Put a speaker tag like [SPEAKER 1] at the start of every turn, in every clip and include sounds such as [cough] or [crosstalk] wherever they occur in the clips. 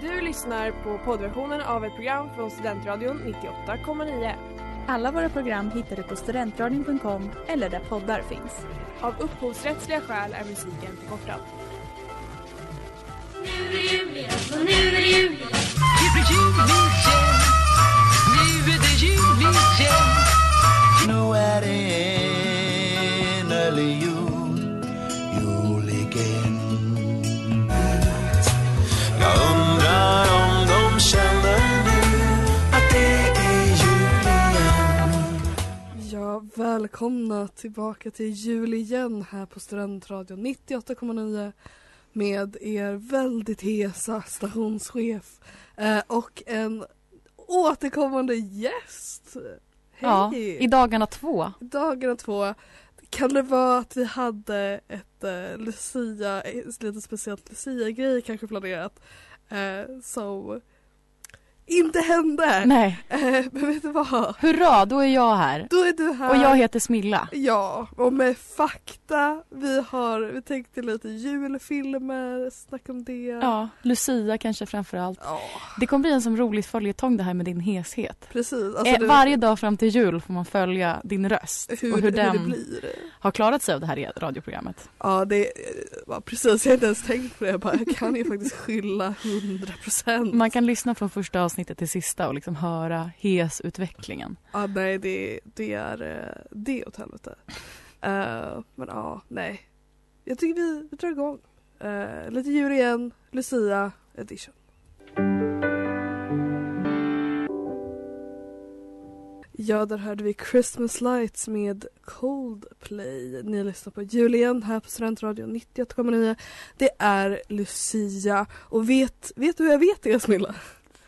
[SPEAKER 1] Du lyssnar på poddversionen av ett program från Studentradion 98,9.
[SPEAKER 2] Alla våra program hittar du på studentradion.com eller där poddar finns.
[SPEAKER 1] Av upphovsrättsliga skäl är musiken förkortad.
[SPEAKER 3] Nu är det jul igen, och nu är det jul igen.
[SPEAKER 4] Nu är det jul igen. Nu är det jul igen.
[SPEAKER 5] Nu är det innerlig jul, jul igen Jag undrar om de känner nu att det är jul igen
[SPEAKER 6] Ja, välkomna tillbaka till jul igen här på Studentradion 98,9 med er väldigt hesa stationschef eh, och en återkommande gäst.
[SPEAKER 7] Ja,
[SPEAKER 6] Hej!
[SPEAKER 7] i dagarna två.
[SPEAKER 6] Dagarna två. Kan det vara att vi hade ett eh, Lucia, ett lite speciellt Lucia-grej kanske planerat eh, som inte hände?
[SPEAKER 7] Nej,
[SPEAKER 6] Eh, men vet du vad?
[SPEAKER 7] hurra, då är jag här.
[SPEAKER 6] Då är du här.
[SPEAKER 7] Och jag heter Smilla.
[SPEAKER 6] Ja, och med fakta. Vi har, vi tänkte lite julfilmer, snack om det.
[SPEAKER 7] Ja, Lucia kanske framför allt.
[SPEAKER 6] Ja,
[SPEAKER 7] Det kommer bli en som rolig följetong det här med din heshet.
[SPEAKER 6] precis. Alltså,
[SPEAKER 7] eh,
[SPEAKER 6] det-
[SPEAKER 7] varje dag fram till jul får man följa din röst
[SPEAKER 6] hur,
[SPEAKER 7] och hur
[SPEAKER 6] hur det
[SPEAKER 7] den
[SPEAKER 6] blir.
[SPEAKER 7] har klarat sig av det här e- radioprogrammet.
[SPEAKER 6] Ja, det var precis. Jag har inte ens tänkt på det. Jag, bara, jag kan ju faktiskt skylla 100 procent.
[SPEAKER 7] Man kan lyssna från första avsnittet till sista och liksom höra hesutvecklingen.
[SPEAKER 6] Ja, nej, det, det är eh, det åt helvete. Eh, men ja, nej. Jag tycker vi, vi drar igång. Eh, lite jul igen, Lucia edition. Ja, där hörde vi Christmas Lights med Coldplay. Ni lyssnar på jul igen här på Studentradion 91,9. Det är Lucia. Och vet, vet du hur jag vet det, Smilla?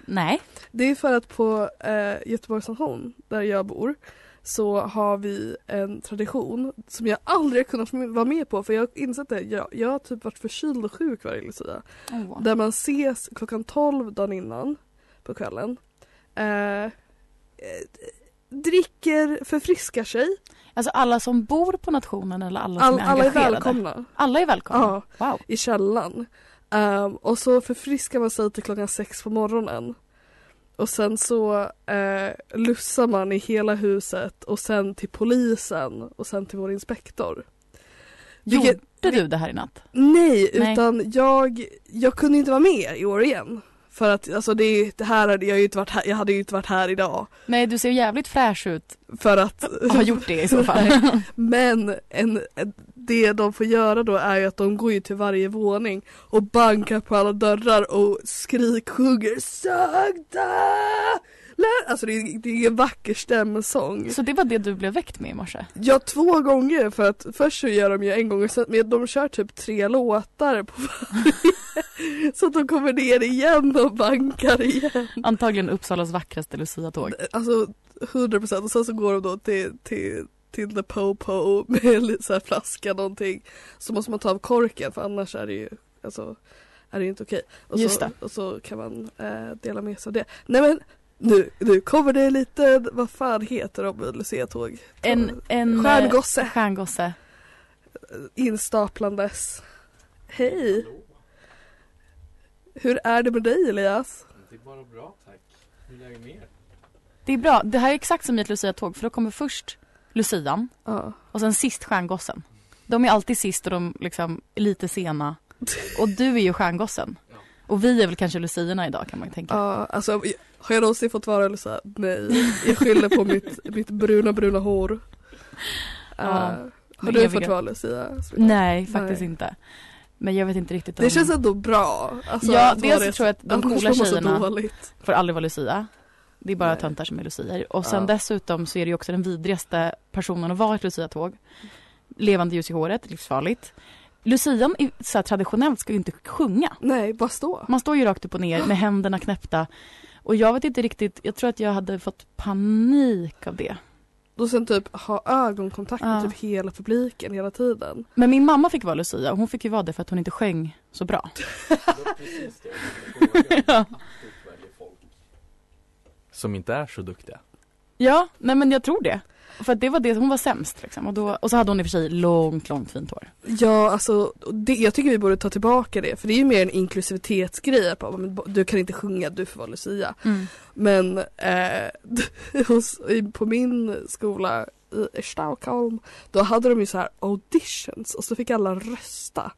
[SPEAKER 7] Nej,
[SPEAKER 6] Det är för att på eh, Göteborgs station, där jag bor, så har vi en tradition som jag aldrig har kunnat vara med på för jag har insett det. Jag, jag har typ varit förkyld och sjuk varje lucia.
[SPEAKER 7] Åh.
[SPEAKER 6] Där man ses klockan 12 dagen innan på kvällen. Eh, eh, dricker, förfriskar sig.
[SPEAKER 7] alltså alla som bor på nationen eller alla som
[SPEAKER 6] All,
[SPEAKER 7] är
[SPEAKER 6] alla är
[SPEAKER 7] engagerade.
[SPEAKER 6] välkomna
[SPEAKER 7] Alla är välkomna. Wow.
[SPEAKER 6] i källaren. Ehm, och så förfriskar man sig till klockan sex på morgonen. Och sen så eh, lussar man i hela huset och sen till polisen och sen till vår inspektor. Vilket-
[SPEAKER 7] Gjorde du det här i natt?
[SPEAKER 6] Nej,
[SPEAKER 7] Nej.
[SPEAKER 6] utan jag, jag kunde inte vara med i år igen. För att alltså det, är- det här, hade jag, ju inte varit här, jag hade ju inte varit här idag.
[SPEAKER 7] Nej, du ser jävligt
[SPEAKER 6] [laughs]
[SPEAKER 7] fräsch ut
[SPEAKER 6] För att,
[SPEAKER 7] och har gjort det i så fall.
[SPEAKER 6] [laughs] men en, en, det de får göra då är ju att de går ju till varje våning och bankar på alla dörrar och skriksjunger Sagda! Lä- Alltså det är, det är en vacker stämsång.
[SPEAKER 7] Så det var det du blev väckt med i morse?
[SPEAKER 6] Ja två gånger för att först så gör de ju en gång och sen, men de kör typ tre låtar på varje. [laughs] så att de kommer ner igen och bankar igen.
[SPEAKER 7] Antagligen Uppsalas vackraste luciatåg.
[SPEAKER 6] Alltså 100% och sen så går de då till, till, till the po-po med lite så här flaska någonting. Så måste man ta av korken för annars är det ju alltså, är det ju inte okej. Och, så-
[SPEAKER 7] Just det.
[SPEAKER 6] och så kan man eh, dela med sig av det. Nej men nu, nu kommer det lite, vad fan heter de luciatåg?
[SPEAKER 7] En, en
[SPEAKER 6] Stjärngosse. Eh,
[SPEAKER 7] eh, stjärngosse.
[SPEAKER 6] instaplandes. Hej! Hur är det med dig Elias?
[SPEAKER 8] Det är bara bra tack. Hur är det med er?
[SPEAKER 7] Det är bra, det här är exakt som i ett luciatåg för då kommer först lucian
[SPEAKER 6] Ja.
[SPEAKER 7] och sen sist stjärngossen. De är alltid sist och de liksom är lite sena. Och du är ju stjärngossen. Och vi är väl kanske luciorna idag kan man tänka.
[SPEAKER 6] Ja, alltså har jag någonsin fått vara Lucia? Nej, jag skyller på mitt, mitt bruna bruna hår.
[SPEAKER 7] Ja,
[SPEAKER 6] Eh, har
[SPEAKER 7] men
[SPEAKER 6] du
[SPEAKER 7] jag
[SPEAKER 6] fått
[SPEAKER 7] vet-
[SPEAKER 6] vara Lucia?
[SPEAKER 7] Nej, faktiskt
[SPEAKER 6] Nej.
[SPEAKER 7] inte. Men jag vet inte riktigt om...
[SPEAKER 6] Det känns ändå bra. Alltså,
[SPEAKER 7] Ja,
[SPEAKER 6] att
[SPEAKER 7] dels
[SPEAKER 6] vara det-
[SPEAKER 7] tror jag att de
[SPEAKER 6] annars
[SPEAKER 7] coola
[SPEAKER 6] mår man så
[SPEAKER 7] tjejerna-
[SPEAKER 6] dåligt.
[SPEAKER 7] får aldrig vara lucia. Det är bara
[SPEAKER 6] Nej.
[SPEAKER 7] töntar som är lucier. Och sen
[SPEAKER 6] Ja.
[SPEAKER 7] dessutom så är det ju också den vidrigaste personen att vara i ett luciatåg. Levande ljus i håret, livsfarligt. Lucian i- så här, traditionellt ska ju inte sjunga.
[SPEAKER 6] Nej, bara stå.
[SPEAKER 7] Man står ju rakt upp och ner med händerna knäppta. Och jag vet inte riktigt, jag tror att jag hade fått panik av det.
[SPEAKER 6] Och sen typ ha ögonkontakt med
[SPEAKER 7] Ja.
[SPEAKER 6] typ hela publiken hela tiden.
[SPEAKER 7] Men min mamma fick vara lucia och hon fick ju vara det för att hon inte sjöng så
[SPEAKER 8] [laughs]
[SPEAKER 7] bra.
[SPEAKER 8] Det var precis det jag ville fråga.
[SPEAKER 7] Ja.
[SPEAKER 8] Aktivt väljer folk. Som inte är så duktiga.
[SPEAKER 7] Ja, nej men jag tror det. För att det var det, hon var sämst liksom. Och, då, och så hade hon i och för sig långt, långt fint hår.
[SPEAKER 6] Ja, alltså det, jag tycker vi borde ta tillbaka det för det är ju mer en inklusivitetsgrej. att bara, men Du kan inte sjunga, du får vara Lucia. Men eh, [laughs] hos- i- på min skola i Stockholm då hade de ju så här auditions och så fick alla rösta.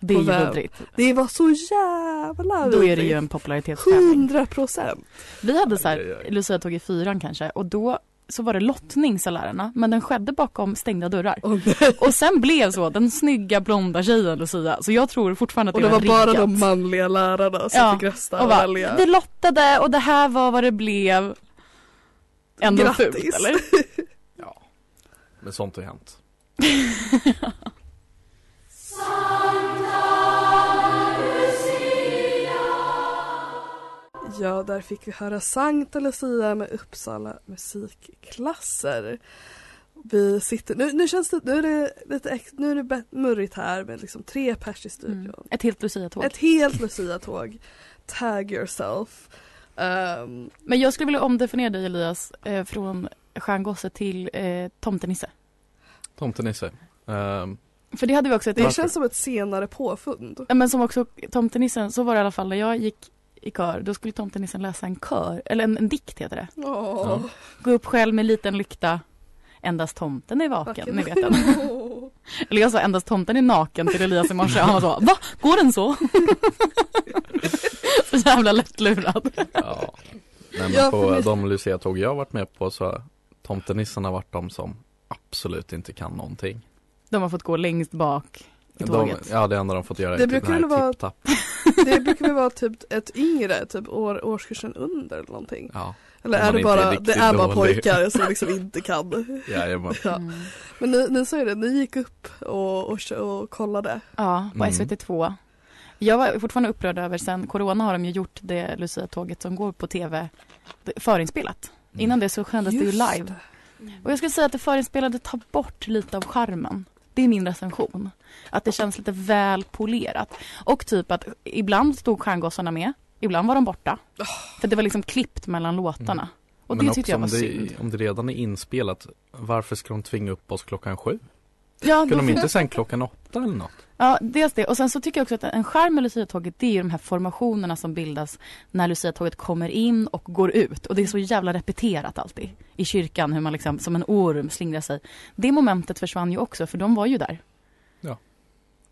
[SPEAKER 7] Det är
[SPEAKER 6] Och
[SPEAKER 7] ju
[SPEAKER 6] väl-
[SPEAKER 7] vidrigt.
[SPEAKER 6] Det var så jävla
[SPEAKER 7] Då är det ju en popularitetstävling.
[SPEAKER 6] 100 procent.
[SPEAKER 7] Vi hade så här, Lucia tog i fyran kanske och då så var det lottning sa lärarna men den skedde bakom stängda dörrar. [laughs]
[SPEAKER 6] Och det
[SPEAKER 7] Och sen blev så den snygga blonda tjejen Lucia så jag tror fortfarande att det,
[SPEAKER 6] var bara
[SPEAKER 7] riggat.
[SPEAKER 6] de manliga lärarna som
[SPEAKER 7] Ja,
[SPEAKER 6] fick rösta
[SPEAKER 7] och
[SPEAKER 6] och
[SPEAKER 7] bara,
[SPEAKER 6] välja.
[SPEAKER 7] Vi lottade och det här var vad det blev. Mm. Ändå
[SPEAKER 6] Grattis.
[SPEAKER 7] fult eller?
[SPEAKER 8] Ja. Men sånt har hänt.
[SPEAKER 6] Ja, där fick vi höra Sankta Lucia med Uppsala musikklasser. Vi sitter, nu, nu känns det, nu är det lite ex, nu är det bet- murrigt här med liksom tre pers i studion.
[SPEAKER 7] Mm. Ett helt Lucia-tåg.
[SPEAKER 6] Typ, Ett helt Lucia-tåg. Tag yourself. Ehm,
[SPEAKER 7] Men jag skulle vilja omdefiniera dig Elias eh, från stjärngosse till eh, tomtenisse.
[SPEAKER 8] Tomtenisse. Ehm,
[SPEAKER 7] För det hade vi också ett
[SPEAKER 6] det
[SPEAKER 8] Varför?
[SPEAKER 6] känns som ett senare påfund.
[SPEAKER 7] Ja, Men som också tomtenissen, så var det i alla fall när jag gick i kör, då skulle tomtenissen läsa en kör, eller en, en dikt heter det.
[SPEAKER 6] Åh,
[SPEAKER 7] Gå upp själv med liten lykta, endast tomten är vaken,
[SPEAKER 6] Vaken.
[SPEAKER 7] ni vet den. Eller jag sa endast tomten är naken till Elias i morse och han var så, va? Går den så? [laughs] så jävla lättlurad.
[SPEAKER 8] ja. Nej,
[SPEAKER 6] Ja, för
[SPEAKER 8] men på
[SPEAKER 6] mig-
[SPEAKER 8] de Lucia-tåg jag har varit med på så har tomtenissen har varit de som absolut inte kan någonting.
[SPEAKER 7] De har fått gå längst bak i
[SPEAKER 8] De,
[SPEAKER 7] tåget.
[SPEAKER 8] ja, det enda de fått göra
[SPEAKER 6] Det
[SPEAKER 8] är typ
[SPEAKER 6] brukar
[SPEAKER 8] den här
[SPEAKER 6] väl vara-
[SPEAKER 8] tipp-tapp.
[SPEAKER 6] [laughs] Det brukar väl vara typ ett yngre, typ år, årskursen under eller någonting.
[SPEAKER 8] Ja,
[SPEAKER 6] Eller
[SPEAKER 8] Om
[SPEAKER 6] är
[SPEAKER 8] man
[SPEAKER 6] det
[SPEAKER 8] inte är
[SPEAKER 6] bara, det
[SPEAKER 8] riktigt
[SPEAKER 6] är bara
[SPEAKER 8] dålig.
[SPEAKER 6] pojkar
[SPEAKER 8] [laughs]
[SPEAKER 6] som liksom inte kan.
[SPEAKER 8] jajamän.
[SPEAKER 6] Ja.
[SPEAKER 7] Mm.
[SPEAKER 6] Men ni, ni sa ju det, ni gick upp och, och, och kollade.
[SPEAKER 7] Ja, på
[SPEAKER 8] Mm.
[SPEAKER 7] SVT2. Jag var fortfarande upprörd över sen corona har de ju gjort det Lucia-tåget som går på tv det- förinspelat.
[SPEAKER 8] Mm.
[SPEAKER 7] Innan det så sändes det ju live. Och jag skulle säga att det förinspelade tar bort lite av charmen. Det är min recension. Att det känns lite väl polerat. Och typ att ibland stod stjärngossarna med, ibland var de borta. För det var liksom klippt mellan låtarna.
[SPEAKER 8] Mm.
[SPEAKER 7] Och
[SPEAKER 8] Men
[SPEAKER 7] det tyckte
[SPEAKER 8] också
[SPEAKER 7] jag var
[SPEAKER 8] om det,
[SPEAKER 7] synd.
[SPEAKER 8] Om det redan är inspelat, varför ska de tvinga upp oss klockan sju?
[SPEAKER 7] Ja, då
[SPEAKER 8] Kunde de
[SPEAKER 7] fick-
[SPEAKER 8] inte sen klockan åtta eller något?
[SPEAKER 7] Ja, dels det. Och sen så tycker jag också att en charm med Lucia-tåget det är ju de här formationerna som bildas när Lucia-tåget kommer in och går ut. Och det är så jävla repeterat alltid i kyrkan hur man liksom som en orm slingrar sig. Det momentet försvann ju också för de var ju där.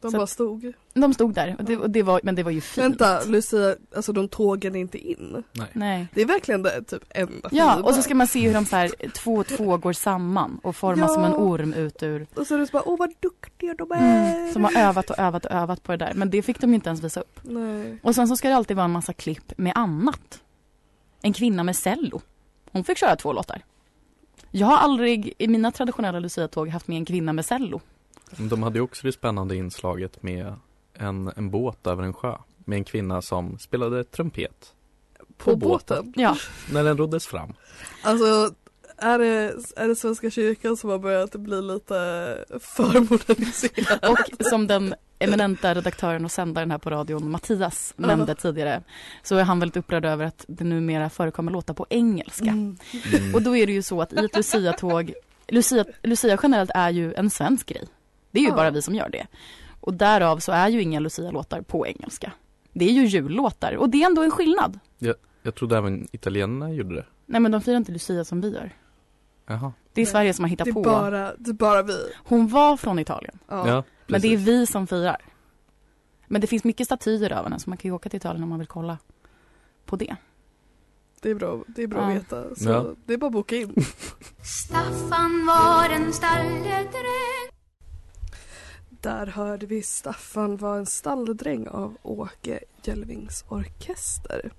[SPEAKER 6] De
[SPEAKER 7] Så-
[SPEAKER 6] bara stod.
[SPEAKER 7] De stod där och det, och det var, men det var ju fint.
[SPEAKER 6] Vänta Lucia, alltså de tågen är inte in.
[SPEAKER 8] Nej.
[SPEAKER 7] Nej.
[SPEAKER 6] Det är verkligen det typ enda
[SPEAKER 7] Ja,
[SPEAKER 6] fina.
[SPEAKER 7] och så ska man se hur de så här två och två går samman och formas
[SPEAKER 6] Ja.
[SPEAKER 7] som en orm ut ur,
[SPEAKER 6] Och så är det så bara, åh vad duktiga de är.
[SPEAKER 7] mm, som har övat och övat och övat på det där. Men det fick de ju inte ens visa upp.
[SPEAKER 6] Nej.
[SPEAKER 7] Och sen så ska det alltid vara en massa klipp med annat. En kvinna med cello. Hon fick köra två låtar. Jag har aldrig i mina traditionella Lucia-tåg haft med en kvinna med cello.
[SPEAKER 8] Men De hade ju också det spännande inslaget med en, en båt över en sjö med en kvinna som spelade trumpet
[SPEAKER 6] På, båten.
[SPEAKER 7] Ja,
[SPEAKER 8] när den roddes fram.
[SPEAKER 6] Alltså är det, är det Svenska kyrkan som har börjat bli lite för moderniserad?
[SPEAKER 7] och som den eminenta redaktören och sändaren här på radion, Mattias, nämnde tidigare så är han väldigt upprörd över att det numera förekommer låtar på engelska.
[SPEAKER 6] Mm.
[SPEAKER 8] Mm.
[SPEAKER 7] Och då är det ju så att i ett Lucia-tåg, Lucia, Lucia generellt är ju en svensk grej. Det är ju
[SPEAKER 6] Ja.
[SPEAKER 7] bara vi som gör det. Och därav så är ju inga Lucia-låtar på engelska. Det är ju jullåtar och det är ändå en skillnad.
[SPEAKER 8] Jag trodde även italienarna gjorde det.
[SPEAKER 7] Nej men de firar inte Lucia som vi gör.
[SPEAKER 8] Jaha.
[SPEAKER 7] Det är
[SPEAKER 6] Nej.
[SPEAKER 7] Sverige som har
[SPEAKER 6] Det,
[SPEAKER 7] hittat
[SPEAKER 6] är
[SPEAKER 7] på.
[SPEAKER 6] bara, det är bara vi.
[SPEAKER 7] Hon var från Italien,
[SPEAKER 6] Ja.
[SPEAKER 8] Ja,
[SPEAKER 7] men det är
[SPEAKER 8] precis.
[SPEAKER 7] vi som firar. Men det finns mycket statyer av henne så man kan ju åka till Italien om man vill kolla på det.
[SPEAKER 6] Det är bra, det är bra
[SPEAKER 7] Ja.
[SPEAKER 6] att veta. Så
[SPEAKER 8] Ja.
[SPEAKER 6] det är bara att boka in.
[SPEAKER 3] Staffan var en stalledräng
[SPEAKER 6] Där hörde vi Staffan var en stalldräng av Åke Jelvings orkester.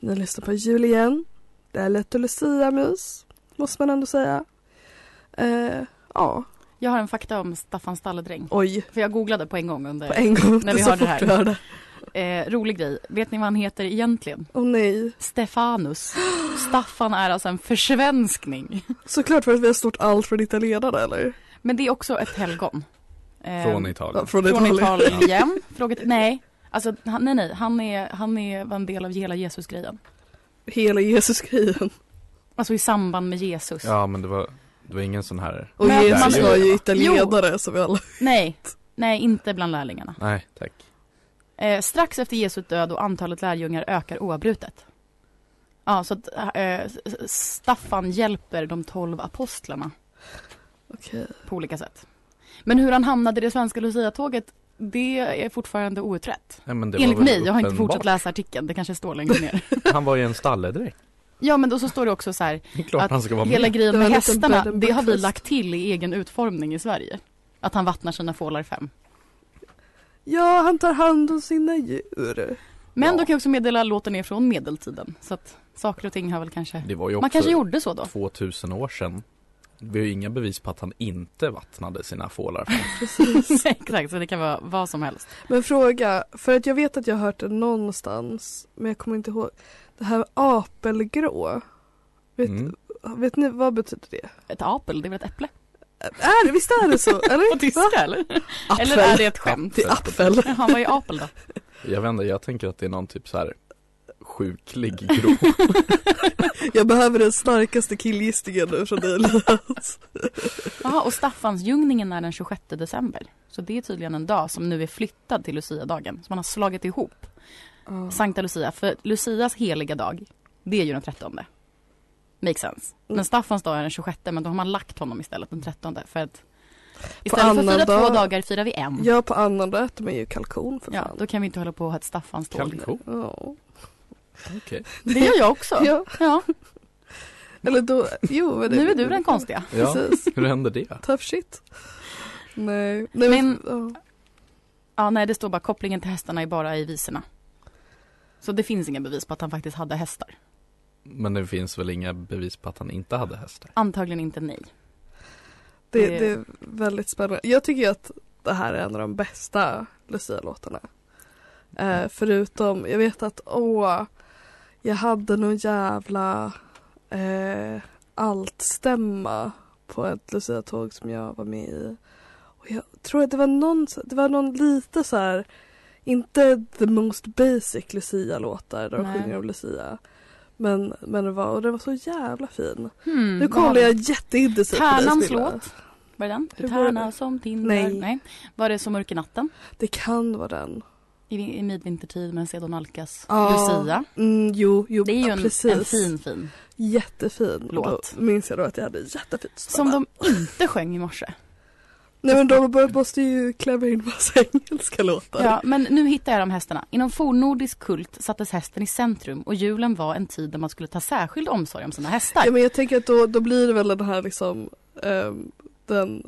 [SPEAKER 6] Ni lyssnar på jul igen. Det är lite Lucia-mys, måste man ändå säga. Eh, ja,
[SPEAKER 7] Jag har en fakta om Staffan Stalledräng.
[SPEAKER 6] oj,
[SPEAKER 7] För jag googlade på en gång under...
[SPEAKER 6] på en gång.
[SPEAKER 7] När vi
[SPEAKER 6] så
[SPEAKER 7] hörde
[SPEAKER 6] fort
[SPEAKER 7] det här.
[SPEAKER 6] vi hörde.
[SPEAKER 7] Eh, rolig grej. Vet ni vad han heter egentligen?
[SPEAKER 6] Åh nej.
[SPEAKER 7] Stefanus. Staffan är alltså en försvenskning.
[SPEAKER 6] Såklart för att vi har stort allt från italienarna eller?
[SPEAKER 7] Men det är också ett helgon. Eh,
[SPEAKER 8] Från
[SPEAKER 6] Ja,
[SPEAKER 8] Italien.
[SPEAKER 6] från,
[SPEAKER 7] från
[SPEAKER 6] Italien.
[SPEAKER 7] Italien igen. Fråget, nej. Alltså, han, nej, nej. Han, är, han är, var en del av hela Jesusgrejen.
[SPEAKER 6] [laughs] Hela Jesus-grejen.
[SPEAKER 7] Alltså i samband med Jesus.
[SPEAKER 8] Ja men det var Det var ingen sån här,
[SPEAKER 6] Och
[SPEAKER 7] Men
[SPEAKER 6] Jesus
[SPEAKER 8] man-
[SPEAKER 6] var ju italienare som vi alla
[SPEAKER 7] Nej, nej inte bland lärlingarna.
[SPEAKER 8] nej tack.
[SPEAKER 7] Eh, strax efter Jesu död och antalet lärjungar ökar oavbrutet. Ja, så att eh, Staffan hjälper de tolv apostlarna
[SPEAKER 6] Okej.
[SPEAKER 7] på olika sätt. Men hur han hamnade i det svenska Lucia-tåget, det är fortfarande outrett.
[SPEAKER 8] Nej, men det
[SPEAKER 7] Enligt
[SPEAKER 8] var väl
[SPEAKER 7] mig, jag har inte
[SPEAKER 8] uppenbart.
[SPEAKER 7] fortsatt läsa artikeln, det kanske står längre
[SPEAKER 8] [laughs]
[SPEAKER 7] ner.
[SPEAKER 8] Han var ju en stalledräkt.
[SPEAKER 7] [laughs] ja, men då så står det också så här,
[SPEAKER 8] Det är klart
[SPEAKER 7] Att
[SPEAKER 8] han ska vara
[SPEAKER 7] hela
[SPEAKER 8] med.
[SPEAKER 7] grejen
[SPEAKER 6] Det
[SPEAKER 7] med
[SPEAKER 6] var en liten
[SPEAKER 7] hästarna,
[SPEAKER 6] bed and
[SPEAKER 7] det har vi
[SPEAKER 6] breakfast.
[SPEAKER 7] lagt till i egen utformning i Sverige. Att han vattnar sina fålar fem.
[SPEAKER 6] Ja, han tar hand om sina djur.
[SPEAKER 7] Men
[SPEAKER 8] Ja.
[SPEAKER 7] då kan jag också meddela att låten är från medeltiden. Så att saker och ting har väl kanske...
[SPEAKER 8] Det var ju
[SPEAKER 7] Man kanske
[SPEAKER 8] också
[SPEAKER 7] gjorde så då. [laughs]
[SPEAKER 8] 2000 år sedan. Vi har ju inga bevis på att han inte vattnade
[SPEAKER 7] [laughs]
[SPEAKER 8] sina fålar.
[SPEAKER 7] Nej, Exakt, så det kan vara vad som helst.
[SPEAKER 6] Men fråga, för att jag vet att jag har hört det någonstans, men jag kommer inte ihåg. Det här med apelgrå, vet,
[SPEAKER 8] Mm.
[SPEAKER 6] vet ni vad betyder det?
[SPEAKER 7] Ett apel, det är väl ett äpple?
[SPEAKER 6] Är det, visst är det så?
[SPEAKER 7] På
[SPEAKER 6] Eller? Va?
[SPEAKER 7] tyska eller? Eller är det ett skämt?
[SPEAKER 6] Det är apfel.
[SPEAKER 7] Jaha, vad är apel då?
[SPEAKER 8] Jag vet inte, jag tänker att det är någon typ så här
[SPEAKER 7] [laughs]
[SPEAKER 8] sjuklig grå.
[SPEAKER 6] Jag behöver den starkaste killgissningen nu från dig Elias.
[SPEAKER 7] Jaha, och Staffansljungningen är den 26 december. Så det är tydligen en dag som nu är flyttad till Lucia-dagen. Så man har slagit ihop Sankta Lucia. För Lucias heliga dag, det är ju den 13. Makes sense. Men
[SPEAKER 6] Mm.
[SPEAKER 7] Staffans dag är den 26, men då har man lagt honom istället den 13. För att istället för att
[SPEAKER 6] annandag-
[SPEAKER 7] fira två dagar firar vi en. Ja,
[SPEAKER 6] Ja, på annandag äter man ju kalkon för fan.
[SPEAKER 7] då kan vi inte hålla på och ha ett Staffans tåg.
[SPEAKER 8] Kalkon,
[SPEAKER 6] Ja.
[SPEAKER 8] okej.
[SPEAKER 7] Det gör jag också. [laughs] Ja.
[SPEAKER 6] Ja, eller då, jo. men det-
[SPEAKER 7] Nu är du den konstiga.
[SPEAKER 8] Ja,
[SPEAKER 6] Precis.
[SPEAKER 8] hur hände det?
[SPEAKER 6] Tough shit. Nej. Nej
[SPEAKER 7] Men-
[SPEAKER 6] ja.
[SPEAKER 7] Ja, nej, det står bara kopplingen till hästarna är bara i visorna. Så det finns inga bevis på att han faktiskt hade hästar.
[SPEAKER 8] Men det finns väl inga bevis på att han inte hade hästar?
[SPEAKER 7] Antagligen inte nej.
[SPEAKER 6] det,
[SPEAKER 7] det-
[SPEAKER 6] det är väldigt spännande. Jag tycker ju att det här är en av de bästa Lucia-låtarna. Eh, förutom, jag vet att åh, jag hade någon jävla eh, altstämma på ett Lucia-tåg som jag var med i. Och jag tror att det var någon, det var någon lite så här, inte the most basic Lucia-låtar där de
[SPEAKER 7] Nej.
[SPEAKER 6] sjunger om Lucia. Men, men det var, och den var så jävla fin.
[SPEAKER 7] Hmm,
[SPEAKER 6] Nu
[SPEAKER 7] vad har
[SPEAKER 6] kollar
[SPEAKER 7] vi?
[SPEAKER 6] jag jätteintensivt på dig,
[SPEAKER 7] Tärnans
[SPEAKER 6] Smilla.
[SPEAKER 7] låt. Var det den? Du
[SPEAKER 6] Hur var
[SPEAKER 7] tärna
[SPEAKER 6] det?
[SPEAKER 7] som tindrar.
[SPEAKER 6] Nej.
[SPEAKER 7] Var det Så mörk i natten?
[SPEAKER 6] Det kan vara den.
[SPEAKER 7] I, i midvintertid men sedan nalkas
[SPEAKER 6] Ja.
[SPEAKER 7] Lucia.
[SPEAKER 6] Mm, jo, jo,
[SPEAKER 7] Det är ju
[SPEAKER 6] ja,
[SPEAKER 7] en,
[SPEAKER 6] precis.
[SPEAKER 7] en fin fin.
[SPEAKER 6] Jättefin. Och
[SPEAKER 7] låt.
[SPEAKER 6] Då minns jag då att jag hade jättefint
[SPEAKER 7] Som
[SPEAKER 6] stämma.
[SPEAKER 7] de inte sjöng i morse.
[SPEAKER 6] Nej men de bara måste ju klämma in massa [laughs] engelska låtar.
[SPEAKER 7] Ja, men nu hittar jag de hästarna. Inom fornnordisk kult sattes hästen i centrum och julen var en tid där man skulle ta särskild omsorg om sina hästar.
[SPEAKER 6] Ja, men jag tänker att då, då blir det väl den här liksom ehm, den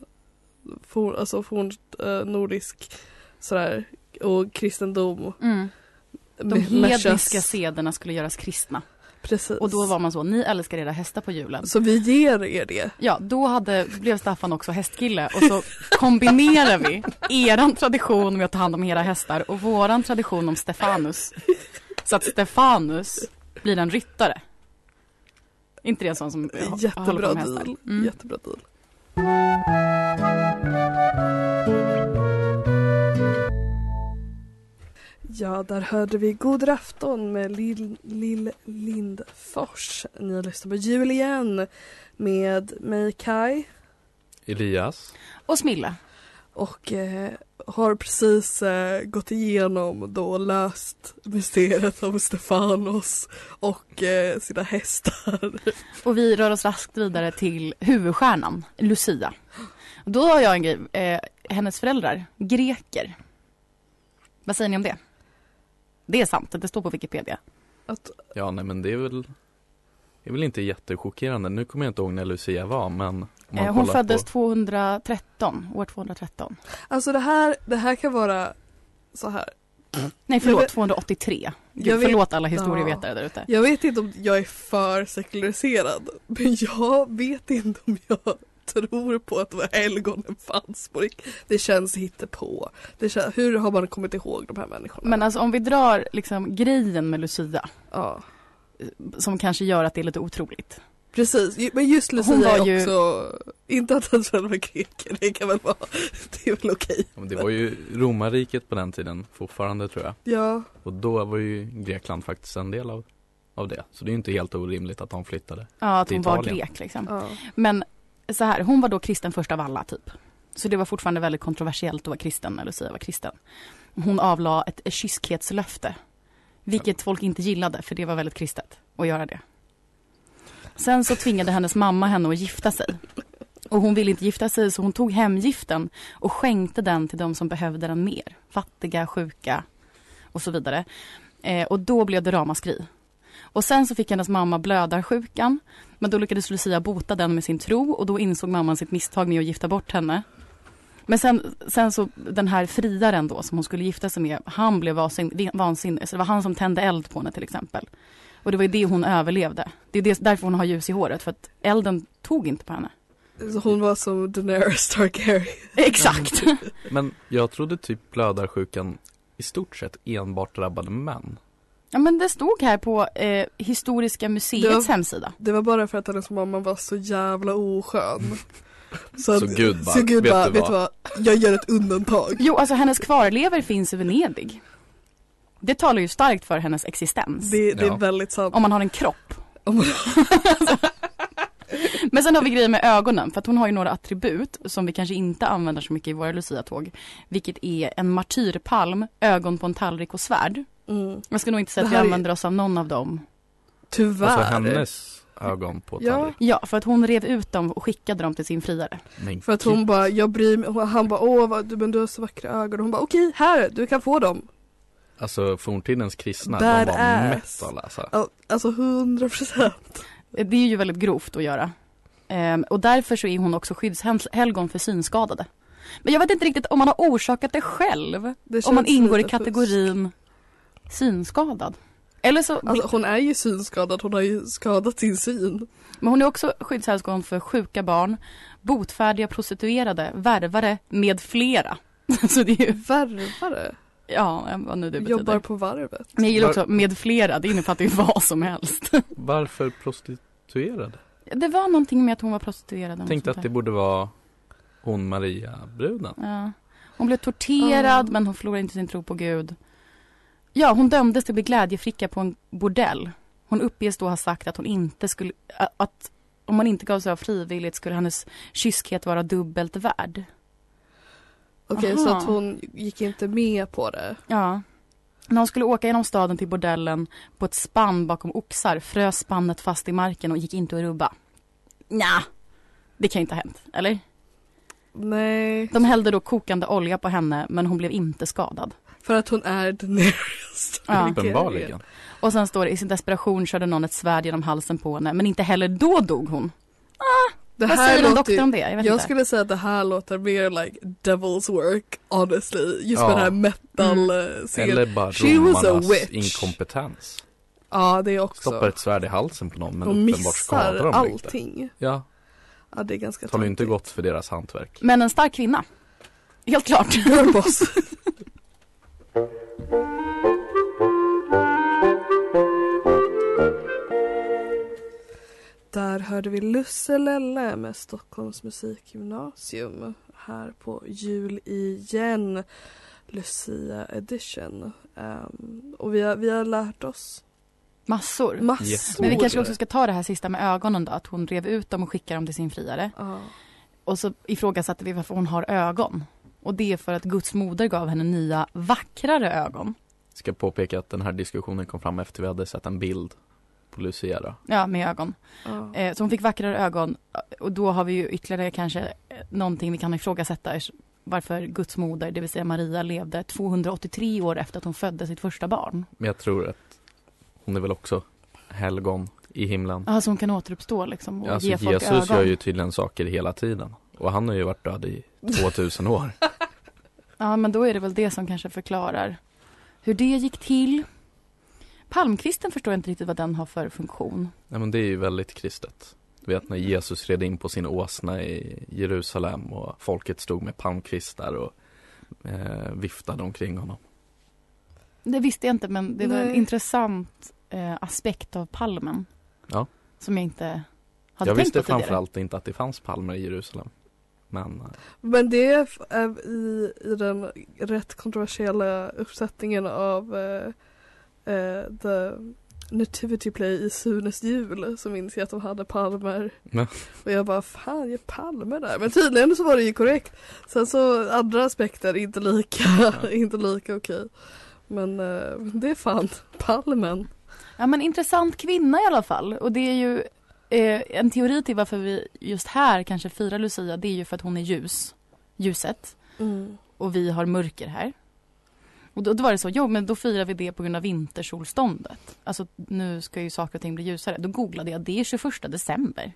[SPEAKER 6] for, alltså forn, eh, nordisk sådär och kristendom.
[SPEAKER 7] Mm. De
[SPEAKER 6] med-
[SPEAKER 7] hedniska
[SPEAKER 6] matchas.
[SPEAKER 7] sederna skulle göras kristna.
[SPEAKER 6] Precis.
[SPEAKER 7] Och då var man så, ni älskar era hästar på julen.
[SPEAKER 6] Så vi ger er det.
[SPEAKER 7] Ja, då hade, blev Staffan också hästkille och så kombinerar vi eran tradition med att ta hand om era hästar och våran tradition om Stefanus. Så att Stefanus blir en ryttare. Inte det en sån som ja, håller på
[SPEAKER 6] Jättebra
[SPEAKER 7] med hästar?
[SPEAKER 6] deal.
[SPEAKER 7] Mm.
[SPEAKER 6] Jättebra deal. Ja, där hörde vi God afton med Lill, Lill Lindfors. Ni har lyssnat på jul igen med mig Kai
[SPEAKER 8] Elias?
[SPEAKER 7] Och Smilla.
[SPEAKER 6] och eh, har precis eh, gått igenom då och löst mysteriet om Stefanos och eh, sina hästar.
[SPEAKER 7] Och vi rör oss raskt vidare till huvudstjärnan, Lucia. Och Då har jag en grej, eh, hennes föräldrar, greker. Vad säger ni om det? Det är sant, det står på Wikipedia.
[SPEAKER 6] Att,
[SPEAKER 8] Ja, nej men det är väl, det är väl inte jättechockerande. Nu kommer jag inte ihåg när Lucia var, men om man
[SPEAKER 7] Eh, hon
[SPEAKER 8] kollar
[SPEAKER 7] föddes
[SPEAKER 8] på,
[SPEAKER 7] 213, år 213.
[SPEAKER 6] alltså det här, det här kan vara så här.
[SPEAKER 7] Nej
[SPEAKER 6] Jag
[SPEAKER 7] förlåt,
[SPEAKER 6] vet-
[SPEAKER 7] 283. Gud,
[SPEAKER 6] Jag vet-
[SPEAKER 7] förlåt alla historievetare där ute.
[SPEAKER 6] Jag vet inte om jag är för sekulariserad men jag vet inte om jag tror på att de här helgonen fanns på rikt- Det känns hittepå. Det kän- hur har man kommit ihåg de här människorna?
[SPEAKER 7] Men alltså om vi drar liksom grejen med Lucia
[SPEAKER 6] ja.
[SPEAKER 7] som kanske gör att det är lite otroligt.
[SPEAKER 6] Precis, Ju- men just
[SPEAKER 7] Hon
[SPEAKER 6] Lucia
[SPEAKER 7] var
[SPEAKER 6] är
[SPEAKER 7] ju-
[SPEAKER 6] också, inte att hennes föräldrar var greker, det kan väl vara, [laughs] det är väl okej.
[SPEAKER 8] Ja, men det var ju romarriket på den tiden, fortfarande tror jag.
[SPEAKER 6] Ja,
[SPEAKER 8] Och då var ju Grekland faktiskt en del av, av det. Så det är ju inte helt orimligt att de flyttade.
[SPEAKER 7] Ja, att
[SPEAKER 8] Till
[SPEAKER 7] hon var
[SPEAKER 8] Italien.
[SPEAKER 7] grek liksom.
[SPEAKER 6] ja.
[SPEAKER 7] Men så här, hon var då kristen först av alla typ. Så det var fortfarande väldigt kontroversiellt att vara kristen, när Lucia var kristen. Hon avlade ett kyskhetslöfte. Vilket folk inte gillade, för det var väldigt kristet att göra det. Sen så tvingade hennes mamma henne att gifta sig. Och hon ville inte gifta sig så hon tog hemgiften och skänkte den till de som behövde den mer. Fattiga, sjuka och så vidare. Eh, och då blev det ramaskri. Och sen så fick hennes mamma blödarsjukan. Men då lyckades Lucia bota den med sin tro och då insåg mamman sitt misstag med att gifta bort henne. Men sen, sen så den här friaren då som hon skulle gifta sig med, han blev vansin- vansinnig. Så det var han som tände eld på henne till exempel. Och det var ju det hon överlevde. Det är det, därför hon har ljus i håret, för att elden tog inte på henne.
[SPEAKER 6] Så hon var som Daenerys Targaryen.
[SPEAKER 7] Exakt.
[SPEAKER 8] Men jag trodde typ blödarsjukan i stort sett enbart drabbade män.
[SPEAKER 7] [laughs] Ja men det stod här på eh, Historiska museets
[SPEAKER 6] Det var-
[SPEAKER 7] hemsida.
[SPEAKER 6] Det var bara för att hennes mamma var så jävla
[SPEAKER 7] [laughs]
[SPEAKER 6] oskön.
[SPEAKER 8] Så Gud bara,
[SPEAKER 6] så Gud
[SPEAKER 8] vet
[SPEAKER 6] bara,
[SPEAKER 8] du
[SPEAKER 6] vet du vad? Jag gör ett undantag.
[SPEAKER 7] Jo alltså hennes kvarlever finns i Venedig. Det talar ju starkt för hennes existens.
[SPEAKER 6] Det, det
[SPEAKER 8] Ja.
[SPEAKER 6] är väldigt sant.
[SPEAKER 7] Om man har en kropp.
[SPEAKER 6] Om-
[SPEAKER 7] Men sen har vi grejer med ögonen för att hon har ju några attribut som vi kanske inte använder så mycket i våra Lucia-tåg. Vilket är en martyrpalm, ögon på en tallrik och svärd.
[SPEAKER 6] [laughs] Mm.
[SPEAKER 7] Jag skulle nog inte säga
[SPEAKER 6] Det
[SPEAKER 7] att vi
[SPEAKER 6] här är-
[SPEAKER 7] använder oss av någon av dem.
[SPEAKER 6] Tyvärr.
[SPEAKER 8] Alltså hennes ögon på
[SPEAKER 6] Ja.
[SPEAKER 8] tallriken.
[SPEAKER 7] Ja, för att hon rev ut dem och skickade dem till sin friare.
[SPEAKER 8] Men typ-
[SPEAKER 6] För att hon bara, jag bryr mig. Hon- Han bara, åh vad, du, men du har så vackra ögon. Hon bara, okej här, du kan få dem.
[SPEAKER 8] Alltså forntidens kristna, de var
[SPEAKER 6] Badass.
[SPEAKER 8] mätt att läsa.
[SPEAKER 6] Al- Alltså hundra procent.
[SPEAKER 7] Det är ju väldigt grovt att göra. Ehm, och därför så är hon också skyddshelgon för synskadade. Men jag vet inte riktigt om man har orsakat det själv.
[SPEAKER 6] Det
[SPEAKER 7] Om man
[SPEAKER 6] känns
[SPEAKER 7] ingår i
[SPEAKER 6] lite fusk.
[SPEAKER 7] kategorin synskadad. Eller så,
[SPEAKER 6] Alltså hon är ju synskadad, hon har ju skadat sin syn.
[SPEAKER 7] men hon är också skyddshelgon för sjuka barn, botfärdiga prostituerade, värvare med flera. [laughs] så det är ju,
[SPEAKER 6] Värvare?
[SPEAKER 7] ja vad nu det betyder.
[SPEAKER 6] Jobbar på varvet.
[SPEAKER 7] Men jag gillar också med flera, det innefattar ju [laughs] vad som helst.
[SPEAKER 8] Varför prostituerad?
[SPEAKER 7] Det var någonting med att hon var prostituerad. eller något
[SPEAKER 8] Tänkte
[SPEAKER 7] sånt
[SPEAKER 8] att
[SPEAKER 7] där.
[SPEAKER 8] det borde vara hon Maria-bruden.
[SPEAKER 7] Ja. Hon blev torterad
[SPEAKER 6] Ah.
[SPEAKER 7] men hon förlorade inte sin tro på Gud. Ja, hon dömdes till att bli glädjeflicka på en bordell. Hon uppges då ha sagt att hon inte skulle, ä- att om hon inte gav sig av frivilligt skulle hennes kyskhet vara dubbelt värd.
[SPEAKER 6] Okej så
[SPEAKER 7] Aha.
[SPEAKER 6] att hon gick inte med på det.
[SPEAKER 7] Ja. När hon skulle åka genom staden till bordellen på ett spann bakom oxar frös spannet fast i marken och gick inte att rubba. Nja, det kan ju inte ha hänt, eller?
[SPEAKER 6] Nej.
[SPEAKER 7] De hällde då kokande olja på henne men hon blev inte skadad.
[SPEAKER 6] För att hon är Daenerys.
[SPEAKER 7] Ja.
[SPEAKER 8] Uppenbarligen.
[SPEAKER 7] Och sen står det i sin desperation körde någon ett svärd genom halsen på henne men inte heller då dog hon.
[SPEAKER 6] Det
[SPEAKER 7] Vad säger en
[SPEAKER 6] låter ju-
[SPEAKER 7] doktor om det? Jag vet
[SPEAKER 6] Jag
[SPEAKER 7] inte.
[SPEAKER 6] skulle säga att det här låter mer like devil's work honestly. Just
[SPEAKER 8] Ja.
[SPEAKER 6] med den här metal
[SPEAKER 7] Mm.
[SPEAKER 6] eh, scenen.
[SPEAKER 8] Eller bara
[SPEAKER 6] She was a
[SPEAKER 8] romarnas
[SPEAKER 6] witch.
[SPEAKER 8] inkompetens.
[SPEAKER 6] Ja det är
[SPEAKER 8] Stoppar
[SPEAKER 6] också.
[SPEAKER 8] ett svärd i halsen på någon men
[SPEAKER 6] De
[SPEAKER 8] uppenbart skadar
[SPEAKER 6] missar
[SPEAKER 8] de inte.
[SPEAKER 6] allting.
[SPEAKER 8] Ja,
[SPEAKER 6] Ja det är ganska
[SPEAKER 8] talar ju inte
[SPEAKER 6] töntigt.
[SPEAKER 8] gott för deras hantverk.
[SPEAKER 7] Men en stark kvinna.
[SPEAKER 6] [laughs]
[SPEAKER 7] Helt klart.
[SPEAKER 6] Girl boss. Där hörde vi Lusselelle med Stockholms musikgymnasium här på jul igen. Lucia edition. Ehm, och vi har, vi har lärt oss
[SPEAKER 7] Massor.
[SPEAKER 6] massor.
[SPEAKER 8] Jättemycket.
[SPEAKER 7] Men vi kanske också ska ta det här sista med ögonen då, att hon rev ut dem och skickade dem till sin friare.
[SPEAKER 6] Ja.
[SPEAKER 7] Och så ifrågasatte vi varför hon har ögon. Och det är för att Guds moder gav henne nya vackrare ögon.
[SPEAKER 8] Ska påpeka att den här diskussionen kom fram efter vi hade sett en bild på Lucia då.
[SPEAKER 7] Ja, med ögon.
[SPEAKER 6] ja.
[SPEAKER 7] Eh, så hon fick vackrare ögon och då har vi ju ytterligare kanske eh, någonting vi kan ifrågasätta ers- varför Guds moder, det vill säga Maria, levde 283 år efter att hon födde sitt första barn.
[SPEAKER 8] Men jag tror att hon är väl också helgon i himlen.
[SPEAKER 7] Ja, så hon kan återuppstå liksom och
[SPEAKER 8] Alltså
[SPEAKER 7] ge folk
[SPEAKER 8] Jesus
[SPEAKER 7] ögon.
[SPEAKER 8] gör ju tydligen saker hela tiden. Och han har ju varit död i 2000 år.
[SPEAKER 7] Ja, men då är det väl det som kanske förklarar hur det gick till. Palmkvisten förstår jag inte riktigt vad den har för funktion.
[SPEAKER 8] Nej men det är ju väldigt kristet. Du vet när Jesus red in på sin åsna i Jerusalem och folket stod med palmkvistar och eh, viftade omkring honom.
[SPEAKER 7] Det visste jag inte, men det var en
[SPEAKER 6] Nej.
[SPEAKER 7] intressant eh, aspekt av palmen.
[SPEAKER 8] Ja.
[SPEAKER 7] Som jag inte hade
[SPEAKER 8] Jag
[SPEAKER 7] tänkt
[SPEAKER 8] visste
[SPEAKER 7] på tidigare.
[SPEAKER 8] framförallt inte att det fanns palmer i Jerusalem. Men eh,
[SPEAKER 6] Men det är f- är i, i den rätt kontroversiella uppsättningen av eh, eh, The Nativity Play i Sunes jul så minns jag att de hade palmer.
[SPEAKER 8] Ja.
[SPEAKER 6] Och jag bara, fan jag palmer där. Men tydligen så var det ju korrekt. Sen så andra aspekter inte lika, [laughs] inte lika okej. Men eh, det fann palmen.
[SPEAKER 7] Ja men intressant kvinna i alla fall. Och det är ju eh, en teori till varför vi just här kanske firar Lucia. Det är ju för att hon är ljus. Ljuset. Och vi har mörker här. Och då, då var det så, jo men då firar vi det på grund av vintersolståndet. Alltså nu ska ju saker och ting bli ljusare. Då googlade jag, det är 21 december.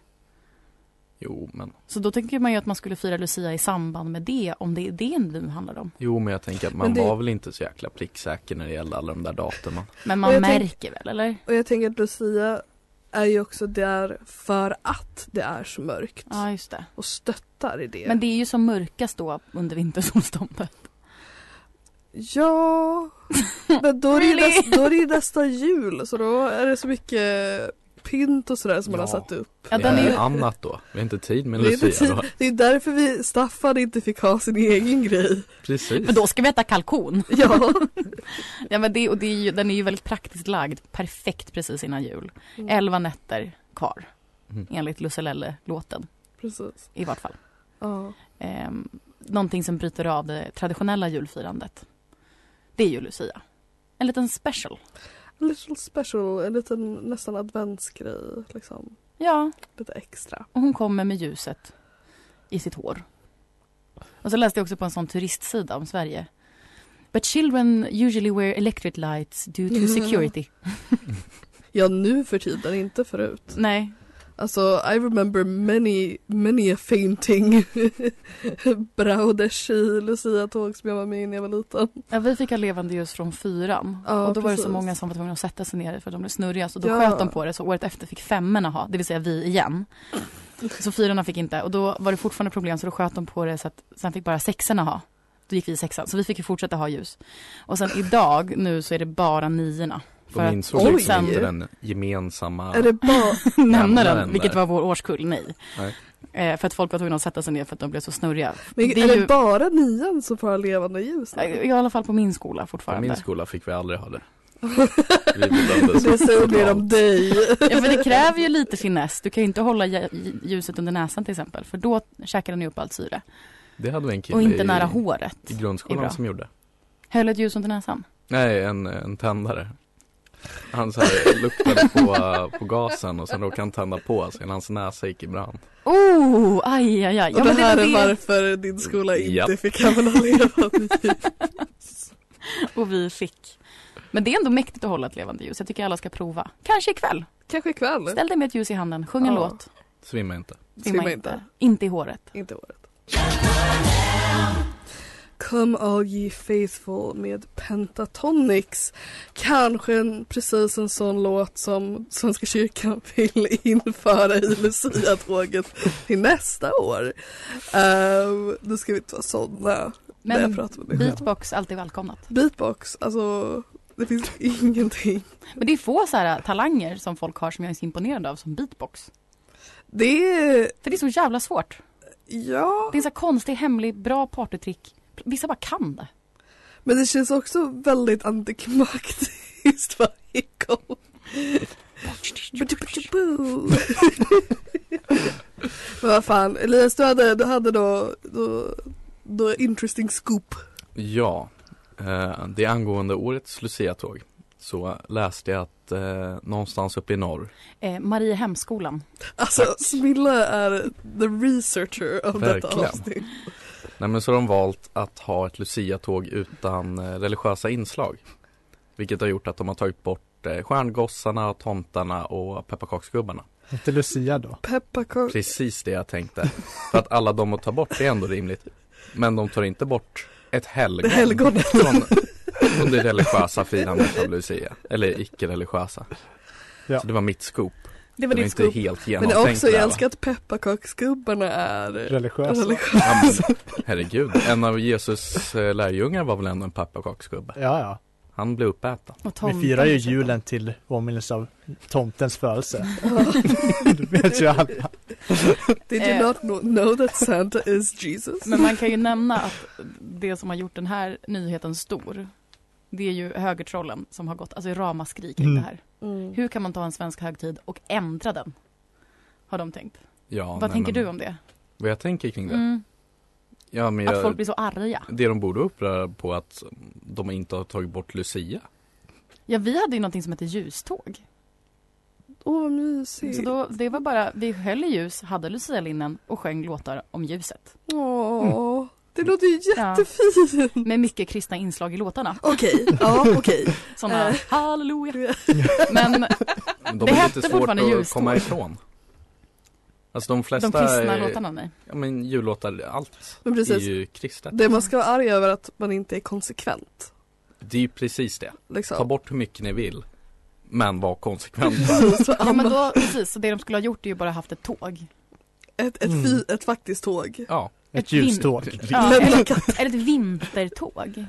[SPEAKER 8] Jo men,
[SPEAKER 7] Så då tänker man ju att man skulle fira Lucia i samband med det, om det är det nu handlar om.
[SPEAKER 8] jo men jag tänker att man
[SPEAKER 6] Men det-
[SPEAKER 8] var väl inte så jäkla pricksäker när det gäller alla de där datumen.
[SPEAKER 7] Men
[SPEAKER 6] Och
[SPEAKER 7] man
[SPEAKER 6] jag tänk-
[SPEAKER 7] märker väl, eller?
[SPEAKER 6] Och jag tänker att Lucia är ju också där för att det är så mörkt.
[SPEAKER 7] Ja, just det.
[SPEAKER 6] Och stöttar i det.
[SPEAKER 7] Men det är ju som mörkast då under vintersolståndet.
[SPEAKER 6] Ja, men då är, det ju
[SPEAKER 7] Really?
[SPEAKER 6] nästa, då är det ju nästa jul så då är det så mycket pynt och sådär som man
[SPEAKER 8] Ja.
[SPEAKER 6] har satt upp.
[SPEAKER 7] Ja,
[SPEAKER 8] det
[SPEAKER 7] den är
[SPEAKER 8] är
[SPEAKER 7] ju-
[SPEAKER 8] annat då, vi har inte tid med
[SPEAKER 6] Det är, inte
[SPEAKER 8] Lucia
[SPEAKER 6] tid,
[SPEAKER 8] då.
[SPEAKER 6] det är därför vi, Staffan inte fick ha sin egen grej.
[SPEAKER 8] Precis.
[SPEAKER 7] För då ska vi äta [laughs] kalkon.
[SPEAKER 6] Ja.
[SPEAKER 7] Ja, men det, och det är ju, den är ju väldigt praktiskt lagd, perfekt precis innan jul. Elva nätter kvar,
[SPEAKER 8] Mm.
[SPEAKER 7] enligt Lusselelle-låten
[SPEAKER 6] Precis.
[SPEAKER 7] i vart fall.
[SPEAKER 6] Ja.
[SPEAKER 7] Ehm, någonting som bryter av det traditionella julfirandet. Det är ju Lucia. En liten special.
[SPEAKER 6] A little special, en liten nästan adventsgrej liksom.
[SPEAKER 7] Ja,
[SPEAKER 6] Lite extra.
[SPEAKER 7] och hon kommer med ljuset i sitt hår. Och så läste jag också på en sån turistsida om Sverige. But children usually wear electric lights due to security.
[SPEAKER 6] Ja nu för tiden, inte förut.
[SPEAKER 7] Nej,
[SPEAKER 6] Alltså I remember many, many a fainting [laughs] Brauders i Lucia-tåg som jag var med i när jag var liten.
[SPEAKER 7] Ja, vi fick ha levande ljus från fyran.
[SPEAKER 6] Ja,
[SPEAKER 7] och då var det så
[SPEAKER 6] precis.
[SPEAKER 7] många som var tvungna att sätta sig ner för att de blev snurriga. Så då
[SPEAKER 6] Ja.
[SPEAKER 7] sköt de på det. Så året efter fick femmorna ha, det vill säga vi igen. Så fyrorna fick inte. Och då var det fortfarande problem så då sköt de på det så att sen fick bara sexorna ha. Då gick vi i sexan. Så vi fick ju fortsätta ha ljus. Och sen idag nu så är det bara niorna. För
[SPEAKER 8] De
[SPEAKER 7] att
[SPEAKER 8] insåg
[SPEAKER 6] Oj.
[SPEAKER 8] liksom inte den gemensamma...
[SPEAKER 6] Är det bara,
[SPEAKER 7] [laughs] nämna
[SPEAKER 8] Nämna den
[SPEAKER 7] den,
[SPEAKER 8] där.
[SPEAKER 7] vilket var vår årskull, nej.
[SPEAKER 8] Nej.
[SPEAKER 7] Eh, för att folk var tvungna att sätta sig ner för att de blev så snurriga.
[SPEAKER 6] Men
[SPEAKER 7] Det
[SPEAKER 6] är,
[SPEAKER 7] är
[SPEAKER 6] det
[SPEAKER 7] ju- Eh,
[SPEAKER 6] bara nian som får ha levande ljus? nu?
[SPEAKER 7] I alla fall på min skola
[SPEAKER 8] På
[SPEAKER 7] fortfarande.
[SPEAKER 8] min skola fick vi aldrig ha det. Vi bedömdes
[SPEAKER 6] Det säger mer om
[SPEAKER 8] totalt.
[SPEAKER 6] dig.
[SPEAKER 7] Ja, för det kräver ju lite finess. Du kan ju inte hålla lj- ljuset under näsan till exempel för då käkar den ju upp allt syre.
[SPEAKER 8] Det hade vi en kille
[SPEAKER 7] Och inte
[SPEAKER 8] i,
[SPEAKER 7] nära håret.
[SPEAKER 8] i
[SPEAKER 7] Det är
[SPEAKER 8] grundskolan
[SPEAKER 7] bra.
[SPEAKER 8] som gjorde.
[SPEAKER 7] Höll ett ljus under näsan.
[SPEAKER 8] Nej, en, en tändare. Han så här luktade [laughs] på, eh, på gasen och sen råkade han tända på sig när hans näsa gick i brand.
[SPEAKER 7] Oh, aj, aj, aj.
[SPEAKER 6] och det här
[SPEAKER 7] det- Mm,
[SPEAKER 6] är
[SPEAKER 7] det-
[SPEAKER 6] varför din skola inte
[SPEAKER 8] Japp.
[SPEAKER 6] fick använda levande
[SPEAKER 7] [laughs]
[SPEAKER 6] ljus.
[SPEAKER 7] Och vi fick. Men det är ändå mäktigt att hålla ett levande ljus. Jag tycker alla ska prova. Kanske ikväll.
[SPEAKER 6] Kanske ikväll.
[SPEAKER 7] Ställ dig med ett ljus i handen, sjung en
[SPEAKER 6] Ja.
[SPEAKER 7] låt.
[SPEAKER 8] Svimma inte.
[SPEAKER 6] Svimma inte.
[SPEAKER 7] Inte i håret.
[SPEAKER 6] Inte året. Come all ye faithful med Pentatonix. Kanske en, precis en sån låt som Svenska kyrkan [laughs] vill införa i Lucia-tåget till nästa år. Uh, nu ska vi inte vara sådana. när jag
[SPEAKER 7] Men
[SPEAKER 6] pratar med mig själv.
[SPEAKER 7] beatbox, alltid välkomnat.
[SPEAKER 6] Beatbox, alltså det finns [laughs] ingenting.
[SPEAKER 7] Men det är få så här äh, talanger som folk har som jag är så imponerad av som beatbox.
[SPEAKER 6] Det är,
[SPEAKER 7] För det är så jävla svårt.
[SPEAKER 6] ja,
[SPEAKER 7] Det är en så här konstig, hemlig, bra partytrick. Vissa bara kan det.
[SPEAKER 6] men det känns också väldigt antiklimaktiskt [laughs] varje gång. Ba-du-ba-du-boo. [laughs] men vad fan, Elias du hade, du hade då, då, då interesting scoop.
[SPEAKER 8] Ja, eh, det är angående årets Lucia-tåg. Så läste jag att eh, någonstans uppe i norr
[SPEAKER 7] Eh, Mariehamnsskolan.
[SPEAKER 6] Alltså Smilla är the researcher av detta
[SPEAKER 8] Verkligen.
[SPEAKER 6] avsnitt.
[SPEAKER 8] Nej men så har de valt att ha ett Lucia-tåg utan eh, religiösa inslag. Vilket har gjort att de har tagit bort eh, stjärngossarna, tomtarna och pepparkaksgubbarna.
[SPEAKER 9] Inte Lucia då?
[SPEAKER 6] Pepparkakor.
[SPEAKER 8] Precis det jag tänkte. För att alla de att ta bort det är ändå rimligt. Men de tar inte bort ett helgon.
[SPEAKER 6] Helgonet.
[SPEAKER 8] Från, från det religiösa firandet av Lucia. Eller icke-religiösa.
[SPEAKER 9] Ja.
[SPEAKER 8] Så det var mitt scoop.
[SPEAKER 6] Det
[SPEAKER 8] Det
[SPEAKER 6] var
[SPEAKER 8] var
[SPEAKER 6] ditt
[SPEAKER 8] inte
[SPEAKER 6] scoop. Men
[SPEAKER 8] helt
[SPEAKER 6] det
[SPEAKER 8] genomtänkt.
[SPEAKER 6] är också,
[SPEAKER 8] där,
[SPEAKER 6] jag
[SPEAKER 8] va?
[SPEAKER 6] älskar att pepparkaksgubbarna
[SPEAKER 7] Eh,
[SPEAKER 6] är alltså,
[SPEAKER 9] Religiösa?
[SPEAKER 6] religiösa.
[SPEAKER 8] Ja, men, herregud, en av Jesus eh, lärjungar var väl ändå en pepparkaksgubbe.
[SPEAKER 9] Ja, ja.
[SPEAKER 8] Han blev uppäten.
[SPEAKER 7] Och
[SPEAKER 9] Vi
[SPEAKER 7] tomten
[SPEAKER 9] firar ju
[SPEAKER 7] dessutom.
[SPEAKER 9] julen till påminnelse av tomtens födelse. [laughs] det vet ju alla.
[SPEAKER 6] [laughs] Did you
[SPEAKER 7] Eh.
[SPEAKER 6] not know, know that Santa is Jesus?
[SPEAKER 7] Men man kan ju nämna att det som har gjort den här nyheten stor Det är ju högertrollen som har gått, alltså ramaskri kring
[SPEAKER 9] Mm.
[SPEAKER 7] det här.
[SPEAKER 6] Mm.
[SPEAKER 7] Hur kan man ta en svensk högtid och ändra den? Har de tänkt.
[SPEAKER 8] Ja,
[SPEAKER 7] Vad
[SPEAKER 8] nej,
[SPEAKER 7] tänker
[SPEAKER 8] men-
[SPEAKER 7] du om det?
[SPEAKER 8] Vad jag tänker kring det?
[SPEAKER 7] Mm.
[SPEAKER 8] Ja, men
[SPEAKER 7] Att
[SPEAKER 8] jag,
[SPEAKER 7] folk blir så arga.
[SPEAKER 8] Det de borde vara upprörda på är att de inte har tagit bort Lucia.
[SPEAKER 7] Ja, vi hade ju någonting som hette ljuståg.
[SPEAKER 6] Åh vad
[SPEAKER 7] Så
[SPEAKER 9] Typ.
[SPEAKER 6] mysigt.
[SPEAKER 7] då, det var bara, vi höll i ljus, hade lucialinnen och sjöng låtar om ljuset.
[SPEAKER 6] Åh,
[SPEAKER 7] Mm.
[SPEAKER 6] det låter ju
[SPEAKER 7] Ja.
[SPEAKER 6] jättefint.
[SPEAKER 7] [laughs] Med mycket kristna inslag i låtarna.
[SPEAKER 6] Okej, ja okej.
[SPEAKER 7] Sådana
[SPEAKER 6] Eh.
[SPEAKER 7] halleluja. Men
[SPEAKER 8] De
[SPEAKER 7] Det
[SPEAKER 8] är
[SPEAKER 7] hette
[SPEAKER 8] lite svårt
[SPEAKER 7] fortfarande
[SPEAKER 8] att
[SPEAKER 7] ljuståg.
[SPEAKER 8] komma ifrån. Alltså de
[SPEAKER 7] de
[SPEAKER 8] flesta
[SPEAKER 7] kristna
[SPEAKER 8] eh,
[SPEAKER 7] låtarna, nej.
[SPEAKER 8] Ja men jullåtar, allt
[SPEAKER 6] Men precis.
[SPEAKER 8] är ju kristet.
[SPEAKER 6] Det man ska vara arg över är att man inte är konsekvent.
[SPEAKER 8] Det är ju precis det. Ta
[SPEAKER 6] [laughs] Liksom.
[SPEAKER 8] bort hur mycket ni vill. Men var konsekventa.
[SPEAKER 7] [laughs] Ja, men då, precis, så det de skulle ha gjort är ju bara haft ett tåg.
[SPEAKER 6] Ett, ett,
[SPEAKER 9] Mm.
[SPEAKER 6] fy, ett faktiskt tåg.
[SPEAKER 8] Ja.
[SPEAKER 9] Ett
[SPEAKER 7] Ett vin-
[SPEAKER 9] ljuståg.
[SPEAKER 7] Ja,
[SPEAKER 6] Lämna
[SPEAKER 7] [laughs] eller, eller ett vintertåg.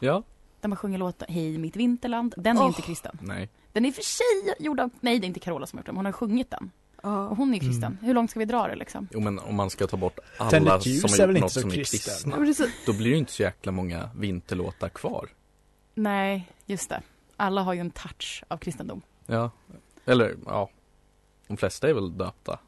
[SPEAKER 8] Ja.
[SPEAKER 7] Där man sjunger låtar, Hej mitt vinterland. Den är
[SPEAKER 6] Åh.
[SPEAKER 7] inte kristen.
[SPEAKER 8] Nej.
[SPEAKER 7] Den är i och för sig gjord av, nej det är inte Carola som har gjort den, hon har sjungit den. Och
[SPEAKER 6] Ja.
[SPEAKER 7] hon är ju kristen. Hur långt ska vi dra det liksom?
[SPEAKER 8] Jo men om man ska ta bort
[SPEAKER 9] Tänd
[SPEAKER 8] alla
[SPEAKER 9] ett
[SPEAKER 8] som
[SPEAKER 9] ljus
[SPEAKER 8] har
[SPEAKER 9] är väl
[SPEAKER 8] gjort
[SPEAKER 9] inte
[SPEAKER 8] något
[SPEAKER 9] så
[SPEAKER 8] som är
[SPEAKER 9] kristet?
[SPEAKER 8] kristna.
[SPEAKER 6] Ja, men precis.
[SPEAKER 8] Då blir det ju inte så jäkla många vinterlåtar kvar.
[SPEAKER 7] Nej, just det. Alla har ju en touch av kristendom. [laughs]
[SPEAKER 8] Ja. Eller ja. De flesta är väl döpta.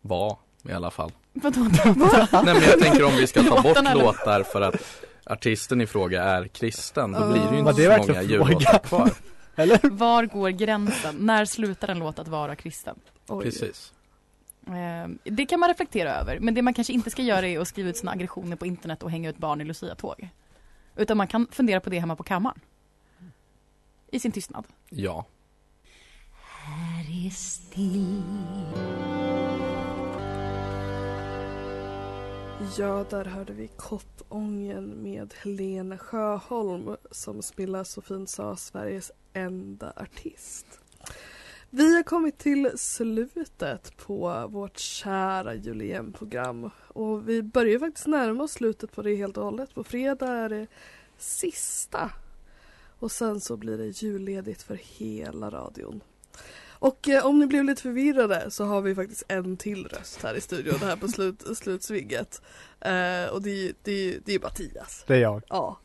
[SPEAKER 8] Var i alla fall.
[SPEAKER 7] Vadå döpta?
[SPEAKER 8] Nej men jag tänker om vi ska ta bort
[SPEAKER 7] Låtarna, eller?
[SPEAKER 8] låtar för att artisten i fråga är kristen, då blir det ju
[SPEAKER 6] Var
[SPEAKER 8] inte
[SPEAKER 9] det
[SPEAKER 8] så
[SPEAKER 9] verkligen
[SPEAKER 8] många
[SPEAKER 9] fråga?
[SPEAKER 8] jullåtar kvar.
[SPEAKER 9] Eller?
[SPEAKER 7] Var går gränsen? När slutar en låt att vara kristen?
[SPEAKER 6] Oj.
[SPEAKER 8] Precis.
[SPEAKER 7] Eh, det kan man reflektera över, men det man kanske inte ska göra är att skriva ut sina aggressioner på internet och hänga ut barn i Lucia-tåg. Utan man kan fundera på det hemma på kammaren. I sin tystnad.
[SPEAKER 8] Ja.
[SPEAKER 3] Här är still
[SPEAKER 6] Ja, där hörde vi Kottången med Helena Sjöholm som Smilla så fint sa Sveriges enda artist. Vi har kommit till slutet på vårt kära jubileumprogram och vi börjar ju faktiskt närma oss slutet på det helt och hållet. På fredag är det sista och sen så blir det julledigt för hela radion. Och eh, om ni blev lite förvirrade så har vi faktiskt en till röst här i studion här på slut, slutsvigget. Eh, och det är ju det är, ju- det är Mattias.
[SPEAKER 9] Det är jag.
[SPEAKER 6] Ja.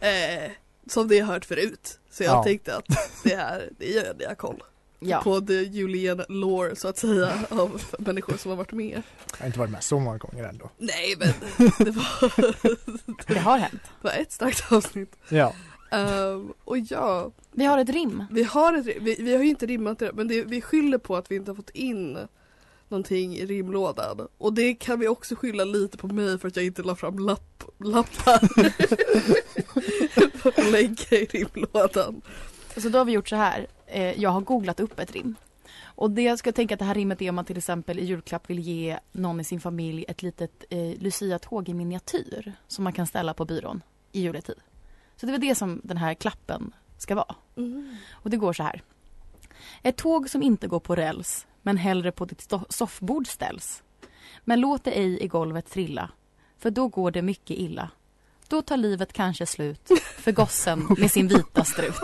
[SPEAKER 6] Eh, som ni har hört förut. Så jag
[SPEAKER 9] Ja.
[SPEAKER 6] tänkte att det här, det gör jag koll.
[SPEAKER 7] Ja.
[SPEAKER 6] På the Julian lore så att säga av människor som har varit med.
[SPEAKER 9] Jag har inte varit med så många gånger ändå.
[SPEAKER 6] Nej men det var, [laughs]
[SPEAKER 7] Det har hänt.
[SPEAKER 6] det var ett starkt avsnitt.
[SPEAKER 9] Ja.
[SPEAKER 6] Ehm, och ja,
[SPEAKER 7] Vi har ett rim.
[SPEAKER 6] vi har, ett, vi, vi har ju inte rimmat det men det, vi skyller på att vi inte har fått in någonting i rimlådan. Och det kan vi också skylla lite på mig för att jag inte la fram lapp, lappar. [laughs] att lägga i rimlådan.
[SPEAKER 7] Så då har vi gjort så här. Eh, jag har googlat upp ett rim. Och det jag ska tänka att det här rimmet är om man till exempel i julklapp vill ge någon i sin familj ett litet eh, Lucia-tåg i miniatyr som man kan ställa på byrån i juletid. Så det är väl det som den här klappen ska vara. Och det går så här. Ett tåg som inte går på räls men hellre på ditt sto- soffbord ställs. Men låt det ej i golvet trilla för då går det mycket illa. Då tar livet kanske slut för gossen med sin vita strut.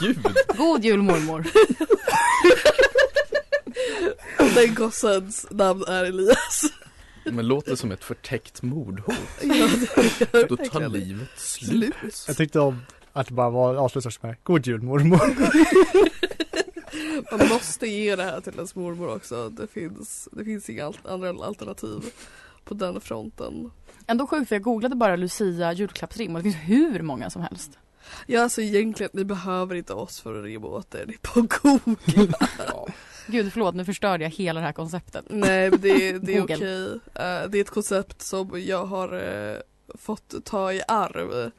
[SPEAKER 8] Gud,
[SPEAKER 7] God jul mormor.
[SPEAKER 6] Den gossens namn är Elias.
[SPEAKER 8] men låter som ett förtäckt mordhot.
[SPEAKER 6] Ja, det gör
[SPEAKER 8] Då tar
[SPEAKER 6] verkligen.
[SPEAKER 8] livet slut.
[SPEAKER 6] slut.
[SPEAKER 9] Jag tyckte om att det bara var avslutas med God jul [laughs] mormor.
[SPEAKER 6] Man måste ge det här till ens mormor också. Det finns, det finns inga al- andra alternativ på den fronten.
[SPEAKER 7] Ändå sjukt för jag googlade bara Lucia julklappsrim och det finns hur många som helst.
[SPEAKER 6] Ja alltså egentligen, ni behöver inte oss för att rimma åt er. Ni är på god.
[SPEAKER 8] Ja.
[SPEAKER 7] Gud förlåt nu förstörde jag hela det här konceptet.
[SPEAKER 6] [laughs] Nej men det, är- det är
[SPEAKER 7] Google.
[SPEAKER 6] okej. Eh, det är ett koncept som jag har eh, fått ta i arv.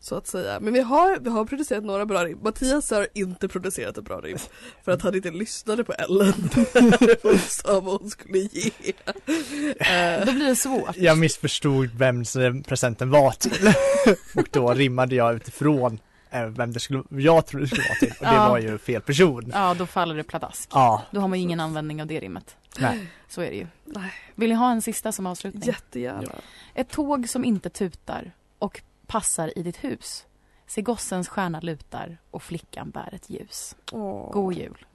[SPEAKER 6] Så att säga. Men vi har, vi har producerat några bra rim. Mattias har inte producerat ett bra
[SPEAKER 7] [laughs]
[SPEAKER 6] rim. För att han inte lyssnade på Ellen. När hon sa vad hon skulle ge. Eh,
[SPEAKER 7] [laughs] Då blir det svårt.
[SPEAKER 9] Jag missförstod vems eh, presenten var [laughs] till. Och då rimmade jag utifrån eh, vem det skulle, jag trodde det skulle vara till. Och det
[SPEAKER 7] Ja.
[SPEAKER 9] var ju fel person.
[SPEAKER 7] Ja då faller det pladask.
[SPEAKER 9] Ja.
[SPEAKER 7] Då har man ju ingen användning av det rimmet.
[SPEAKER 9] Nej.
[SPEAKER 7] Så är det ju.
[SPEAKER 6] Nej.
[SPEAKER 7] Vill ni ha en sista som avslutning?
[SPEAKER 6] jättegärna.
[SPEAKER 7] Ett tåg som inte tutar och passar i ditt hus. Se gossens stjärna lutar och flickan bär ett ljus.
[SPEAKER 6] Åh.
[SPEAKER 7] God jul.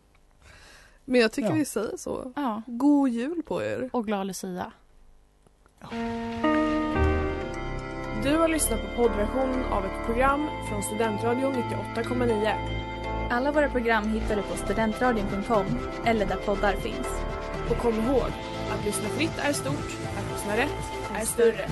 [SPEAKER 6] Men jag tycker
[SPEAKER 9] Ja.
[SPEAKER 6] vi säger så.
[SPEAKER 7] Ja.
[SPEAKER 6] God jul på er.
[SPEAKER 7] Och glad Lucia.
[SPEAKER 1] Du har lyssnat på poddversionen av ett program från Studentradion 98,9.
[SPEAKER 2] Alla våra program hittar du på studentradion.com eller där poddar finns.
[SPEAKER 1] Och kom ihåg, att lyssna fritt är stort, att lyssna rätt är större.